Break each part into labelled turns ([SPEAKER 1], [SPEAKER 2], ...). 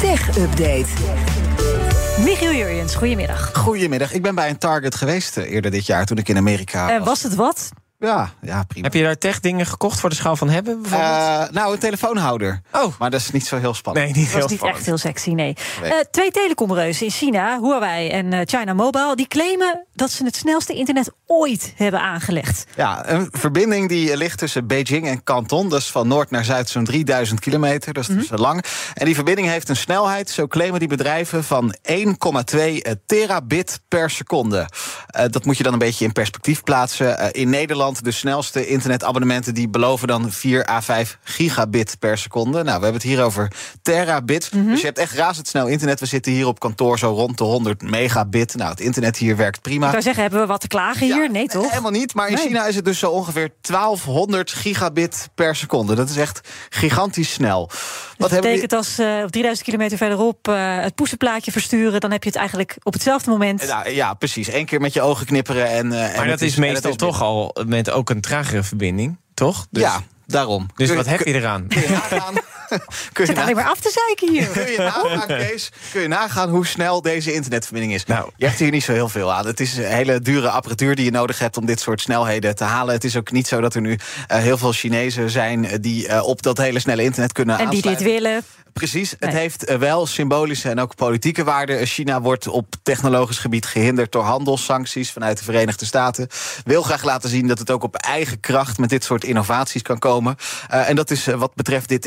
[SPEAKER 1] Tech Update.
[SPEAKER 2] Michiel Jurjens, goedemiddag.
[SPEAKER 3] Goedemiddag. Ik ben bij een Target geweest eh, eerder dit jaar toen ik in Amerika
[SPEAKER 2] Eh, was het wat?
[SPEAKER 3] Ja, ja, prima.
[SPEAKER 4] Heb je daar tech dingen gekocht voor de schaal van hebben bijvoorbeeld?
[SPEAKER 3] Eh, nou, een telefoonhouder.
[SPEAKER 4] Oh.
[SPEAKER 3] Maar dat is niet zo heel spannend.
[SPEAKER 4] nee, niet
[SPEAKER 2] Dat
[SPEAKER 4] heel
[SPEAKER 2] was niet
[SPEAKER 4] spannend.
[SPEAKER 2] echt heel sexy, nee.
[SPEAKER 3] Nee.
[SPEAKER 2] Eh, twee telecomreuzen in China, Huawei en eh, China Mobile... die claimen dat ze het snelste internet ooit hebben aangelegd.
[SPEAKER 3] Ja, een verbinding die ligt tussen Beijing en Canton. Dus van noord naar zuid zo'n 3000 kilometer. Dat is dus lang. En die verbinding heeft een snelheid, zo claimen die bedrijven, van 1,2 eh, terabit per seconde. Eh, dat moet je dan een beetje in perspectief plaatsen. Eh, in Nederland de snelste internetabonnementen die beloven dan 4 à 5 gigabit per seconde. Nou, we hebben het hier over terabit. Dus je hebt echt razendsnel internet. We zitten hier op kantoor zo rond de 100 megabit. Nou, het internet hier werkt prima.
[SPEAKER 2] Ik zou zeggen, hebben we wat te klagen
[SPEAKER 3] Ja,
[SPEAKER 2] hier? Nee, toch?
[SPEAKER 3] Helemaal niet, maar in
[SPEAKER 2] Nee.
[SPEAKER 3] China is het dus zo ongeveer 1200 gigabit per seconde. Dat is echt gigantisch snel.
[SPEAKER 2] Dat
[SPEAKER 3] hebben
[SPEAKER 2] betekent als eh, op 3000 kilometer verderop eh, het poesenplaatje versturen... dan heb je het eigenlijk op hetzelfde moment.
[SPEAKER 3] we- Nou, ja, precies. Eén keer met je ogen knipperen en. eh, en
[SPEAKER 4] Maar
[SPEAKER 3] het
[SPEAKER 4] dat is
[SPEAKER 3] en het
[SPEAKER 4] meestal
[SPEAKER 3] is
[SPEAKER 4] toch al met ook een tragere verbinding, toch? Dus,
[SPEAKER 3] Ja, daarom.
[SPEAKER 4] dus
[SPEAKER 3] Kun-
[SPEAKER 4] wat heb je eraan?
[SPEAKER 3] Kun je nagaan? kun, je
[SPEAKER 2] Zit alleen
[SPEAKER 3] na-
[SPEAKER 2] maar af te zeiken hier.
[SPEAKER 3] kun je nagaan, Kees? Kun je nagaan hoe snel deze internetverbinding is?
[SPEAKER 4] Nou.
[SPEAKER 3] Je hebt hier niet zo heel veel aan. Het is een hele dure apparatuur die je nodig hebt om dit soort snelheden te halen. Het is ook niet zo dat er nu eh, heel veel Chinezen zijn die eh, op dat hele snelle internet kunnen
[SPEAKER 2] En die
[SPEAKER 3] aansluiten.
[SPEAKER 2] dit willen.
[SPEAKER 3] Precies, het
[SPEAKER 2] Nee.
[SPEAKER 3] heeft eh, wel symbolische en ook politieke waarde. China wordt op technologisch gebied gehinderd door handelssancties vanuit de Verenigde Staten. Wil graag laten zien dat het ook op eigen kracht met dit soort innovaties kan komen. Eh, en dat is eh, wat betreft dit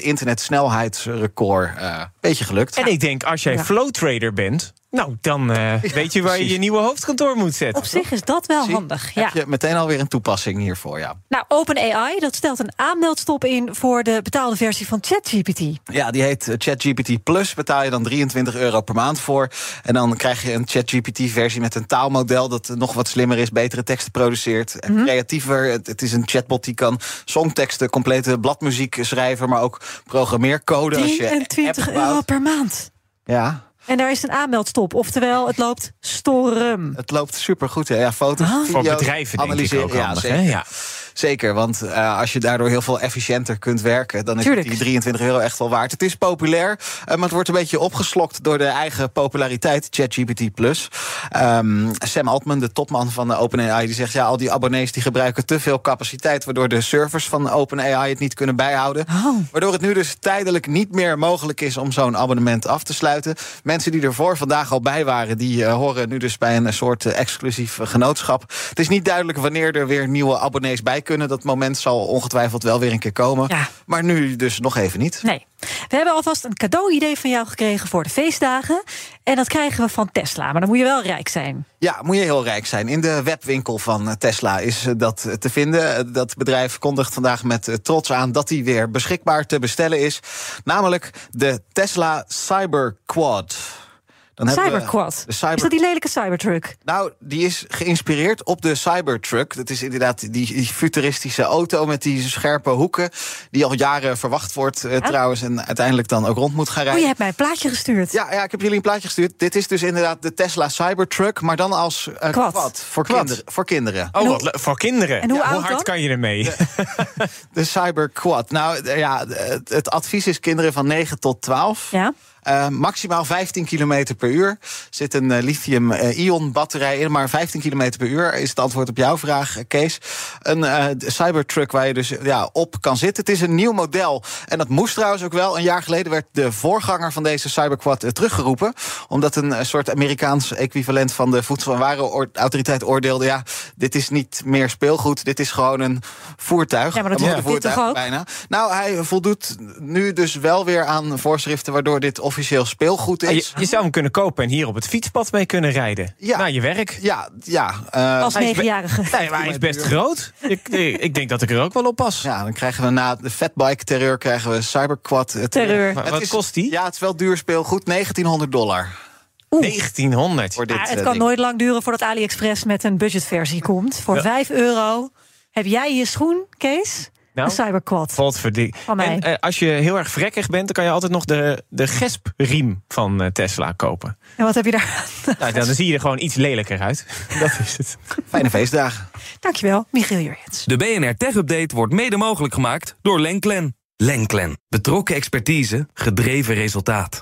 [SPEAKER 3] internetsnelheidsrecord eh, een beetje gelukt.
[SPEAKER 4] En ik denk, als jij
[SPEAKER 2] Ja.
[SPEAKER 4] flow trader bent, nou dan eh, weet je waar je
[SPEAKER 3] precies.
[SPEAKER 4] je nieuwe hoofdkantoor moet zetten.
[SPEAKER 2] Op zich is dat wel
[SPEAKER 3] Zie,
[SPEAKER 2] handig. Ja.
[SPEAKER 3] Heb je meteen alweer een toepassing hiervoor, ja.
[SPEAKER 2] Nou, OpenAI dat stelt een aanmeldstop in voor de betaalde versie van ChatGPT.
[SPEAKER 3] Ja, die heet eh, ChatGPT Plus. Betaal je dan 23 euro per maand voor. En dan krijg je een ChatGPT-versie met een taalmodel dat eh, nog wat slimmer is, betere teksten produceert, en
[SPEAKER 2] Mhm.
[SPEAKER 3] creatiever. Het, het is een chatbot die kan songteksten, complete bladmuziek schrijven, maar ook programmeercode. als je app
[SPEAKER 2] 23
[SPEAKER 3] bouwt.
[SPEAKER 2] euro per maand.
[SPEAKER 3] Ja,
[SPEAKER 2] En daar is een aanmeldstop. Oftewel, het loopt storm.
[SPEAKER 3] het loopt supergoed. hè. Ja, foto's,
[SPEAKER 2] Ah. Voor
[SPEAKER 4] Voor
[SPEAKER 3] video's,
[SPEAKER 4] bedrijven denk ik
[SPEAKER 3] analyseren.
[SPEAKER 4] ook
[SPEAKER 3] ja,
[SPEAKER 4] handig. hè?
[SPEAKER 3] zeker.
[SPEAKER 4] Ja.
[SPEAKER 3] Zeker, want eh, als je daardoor heel veel efficiënter kunt werken, dan is
[SPEAKER 2] Tuurlijk.
[SPEAKER 3] het die 23 euro echt wel waard. Het is populair, eh, maar het wordt een beetje opgeslokt door de eigen populariteit, ChatGPT. Plus. Ehm, Sam Altman, de topman van eh, OpenAI, die zegt: ja, al die abonnees die gebruiken te veel capaciteit, waardoor de servers van OpenAI het niet kunnen bijhouden.
[SPEAKER 2] Oh.
[SPEAKER 3] Waardoor het nu dus tijdelijk niet meer mogelijk is om zo'n abonnement af te sluiten. Mensen die ervoor vandaag al bij waren, die eh, horen nu dus bij een soort eh, exclusief eh, genootschap. Het is niet duidelijk wanneer er weer nieuwe abonnees bij kunnen. Dat moment zal ongetwijfeld wel weer een keer komen.
[SPEAKER 2] Ja.
[SPEAKER 3] Maar nu dus nog even niet.
[SPEAKER 2] Nee. We hebben alvast een cadeau-idee van jou gekregen voor de feestdagen. En dat krijgen we van Tesla. Maar dan moet je wel rijk zijn.
[SPEAKER 3] Ja, moet je heel rijk zijn. In de webwinkel van eh, Tesla is eh, dat eh, te vinden. Eh, Dat bedrijf kondigt vandaag met eh, trots aan dat die weer beschikbaar te bestellen is. Namelijk de Tesla Cyberquad. Dan hebben we
[SPEAKER 2] Cyberquad.
[SPEAKER 3] de cyber-
[SPEAKER 2] Is dat die lelijke Cybertruck?
[SPEAKER 3] Nou, die is geïnspireerd op de Cybertruck. Dat is inderdaad die, die futuristische auto met die scherpe hoeken. Die al jaren verwacht wordt eh, trouwens. En uiteindelijk dan ook rond moet gaan
[SPEAKER 2] Oh,
[SPEAKER 3] rijden.
[SPEAKER 2] je hebt mij een plaatje gestuurd.
[SPEAKER 3] Ja, ja, ik heb jullie een plaatje gestuurd. Dit is dus inderdaad de Tesla Cybertruck, maar dan als eh
[SPEAKER 2] Quad.
[SPEAKER 3] quad. voor,
[SPEAKER 4] Quad.
[SPEAKER 3] Kinderen, voor kinderen.
[SPEAKER 4] Oh,
[SPEAKER 2] En
[SPEAKER 4] wat
[SPEAKER 2] hoe-
[SPEAKER 4] le- voor kinderen.
[SPEAKER 2] en hoe
[SPEAKER 4] Ja,
[SPEAKER 2] oud
[SPEAKER 4] hard
[SPEAKER 2] dan?
[SPEAKER 4] kan je ermee?
[SPEAKER 3] De Cyberquad. Nou eh, ja, het, het advies is kinderen van 9 tot 12.
[SPEAKER 2] Ja.
[SPEAKER 3] Eh, maximaal 15 km per uur. Zit een eh, lithium-ion batterij in, maar 15 km per uur is het antwoord op jouw vraag, eh, Kees. Een eh, d- Cybertruck waar je dus ja, op kan zitten. Het is een nieuw model. En dat moest trouwens ook wel. Een jaar geleden werd de voorganger van deze Cyberquad eh, teruggeroepen. Omdat een eh, soort Amerikaans equivalent van de Voedsel- en Warenautoriteit oordeelde: ja, dit is niet meer speelgoed, dit is gewoon een voertuig.
[SPEAKER 2] Ja, maar dat
[SPEAKER 3] Een
[SPEAKER 2] is dit
[SPEAKER 3] motorvoertuig
[SPEAKER 2] toch ook?
[SPEAKER 3] bijna. Nou, hij voldoet nu dus wel weer aan voorschriften waardoor dit officieel speelgoed
[SPEAKER 4] Ah, je,
[SPEAKER 3] is.
[SPEAKER 4] je zou hem kunnen kopen en hier op het fietspad mee kunnen rijden.
[SPEAKER 3] Ja.
[SPEAKER 4] Naar je werk.
[SPEAKER 3] Ja, ja. eh,
[SPEAKER 2] Als
[SPEAKER 4] hij is be-
[SPEAKER 2] negenjarige.
[SPEAKER 4] Nee, maar hij is best groot. Ik, ik, ik denk dat ik er ook wel op pas.
[SPEAKER 3] ja, dan krijgen we na de fatbike-terreur krijgen we cyberquad. eh,
[SPEAKER 2] Terreur.
[SPEAKER 4] Maar
[SPEAKER 3] Het
[SPEAKER 4] wat
[SPEAKER 3] is-
[SPEAKER 4] kost die?
[SPEAKER 3] Ja, het is wel duur speelgoed. 1900 dollar
[SPEAKER 4] 1900.
[SPEAKER 3] voor dit
[SPEAKER 2] Maar
[SPEAKER 3] eh,
[SPEAKER 2] het kan
[SPEAKER 3] ding.
[SPEAKER 2] nooit lang duren voordat AliExpress met een budgetversie komt. Voor 5 euro heb jij je schoen, Kees,
[SPEAKER 4] Nou.
[SPEAKER 2] een cyberquad.
[SPEAKER 4] Godverdie-
[SPEAKER 2] Van mij.
[SPEAKER 4] En eh, als je heel erg vrekkig bent, dan kan je altijd nog de, de gespriem van eh, Tesla kopen.
[SPEAKER 2] En wat heb je daar?
[SPEAKER 4] Nou, dan zie je er gewoon iets lelijker uit. Dat is het.
[SPEAKER 3] Fijne feestdagen.
[SPEAKER 2] Dankjewel, Michiel Jurjens.
[SPEAKER 5] De BNR Tech Update wordt mede mogelijk gemaakt door Lenklen. Lenklen. Betrokken expertise, gedreven resultaat.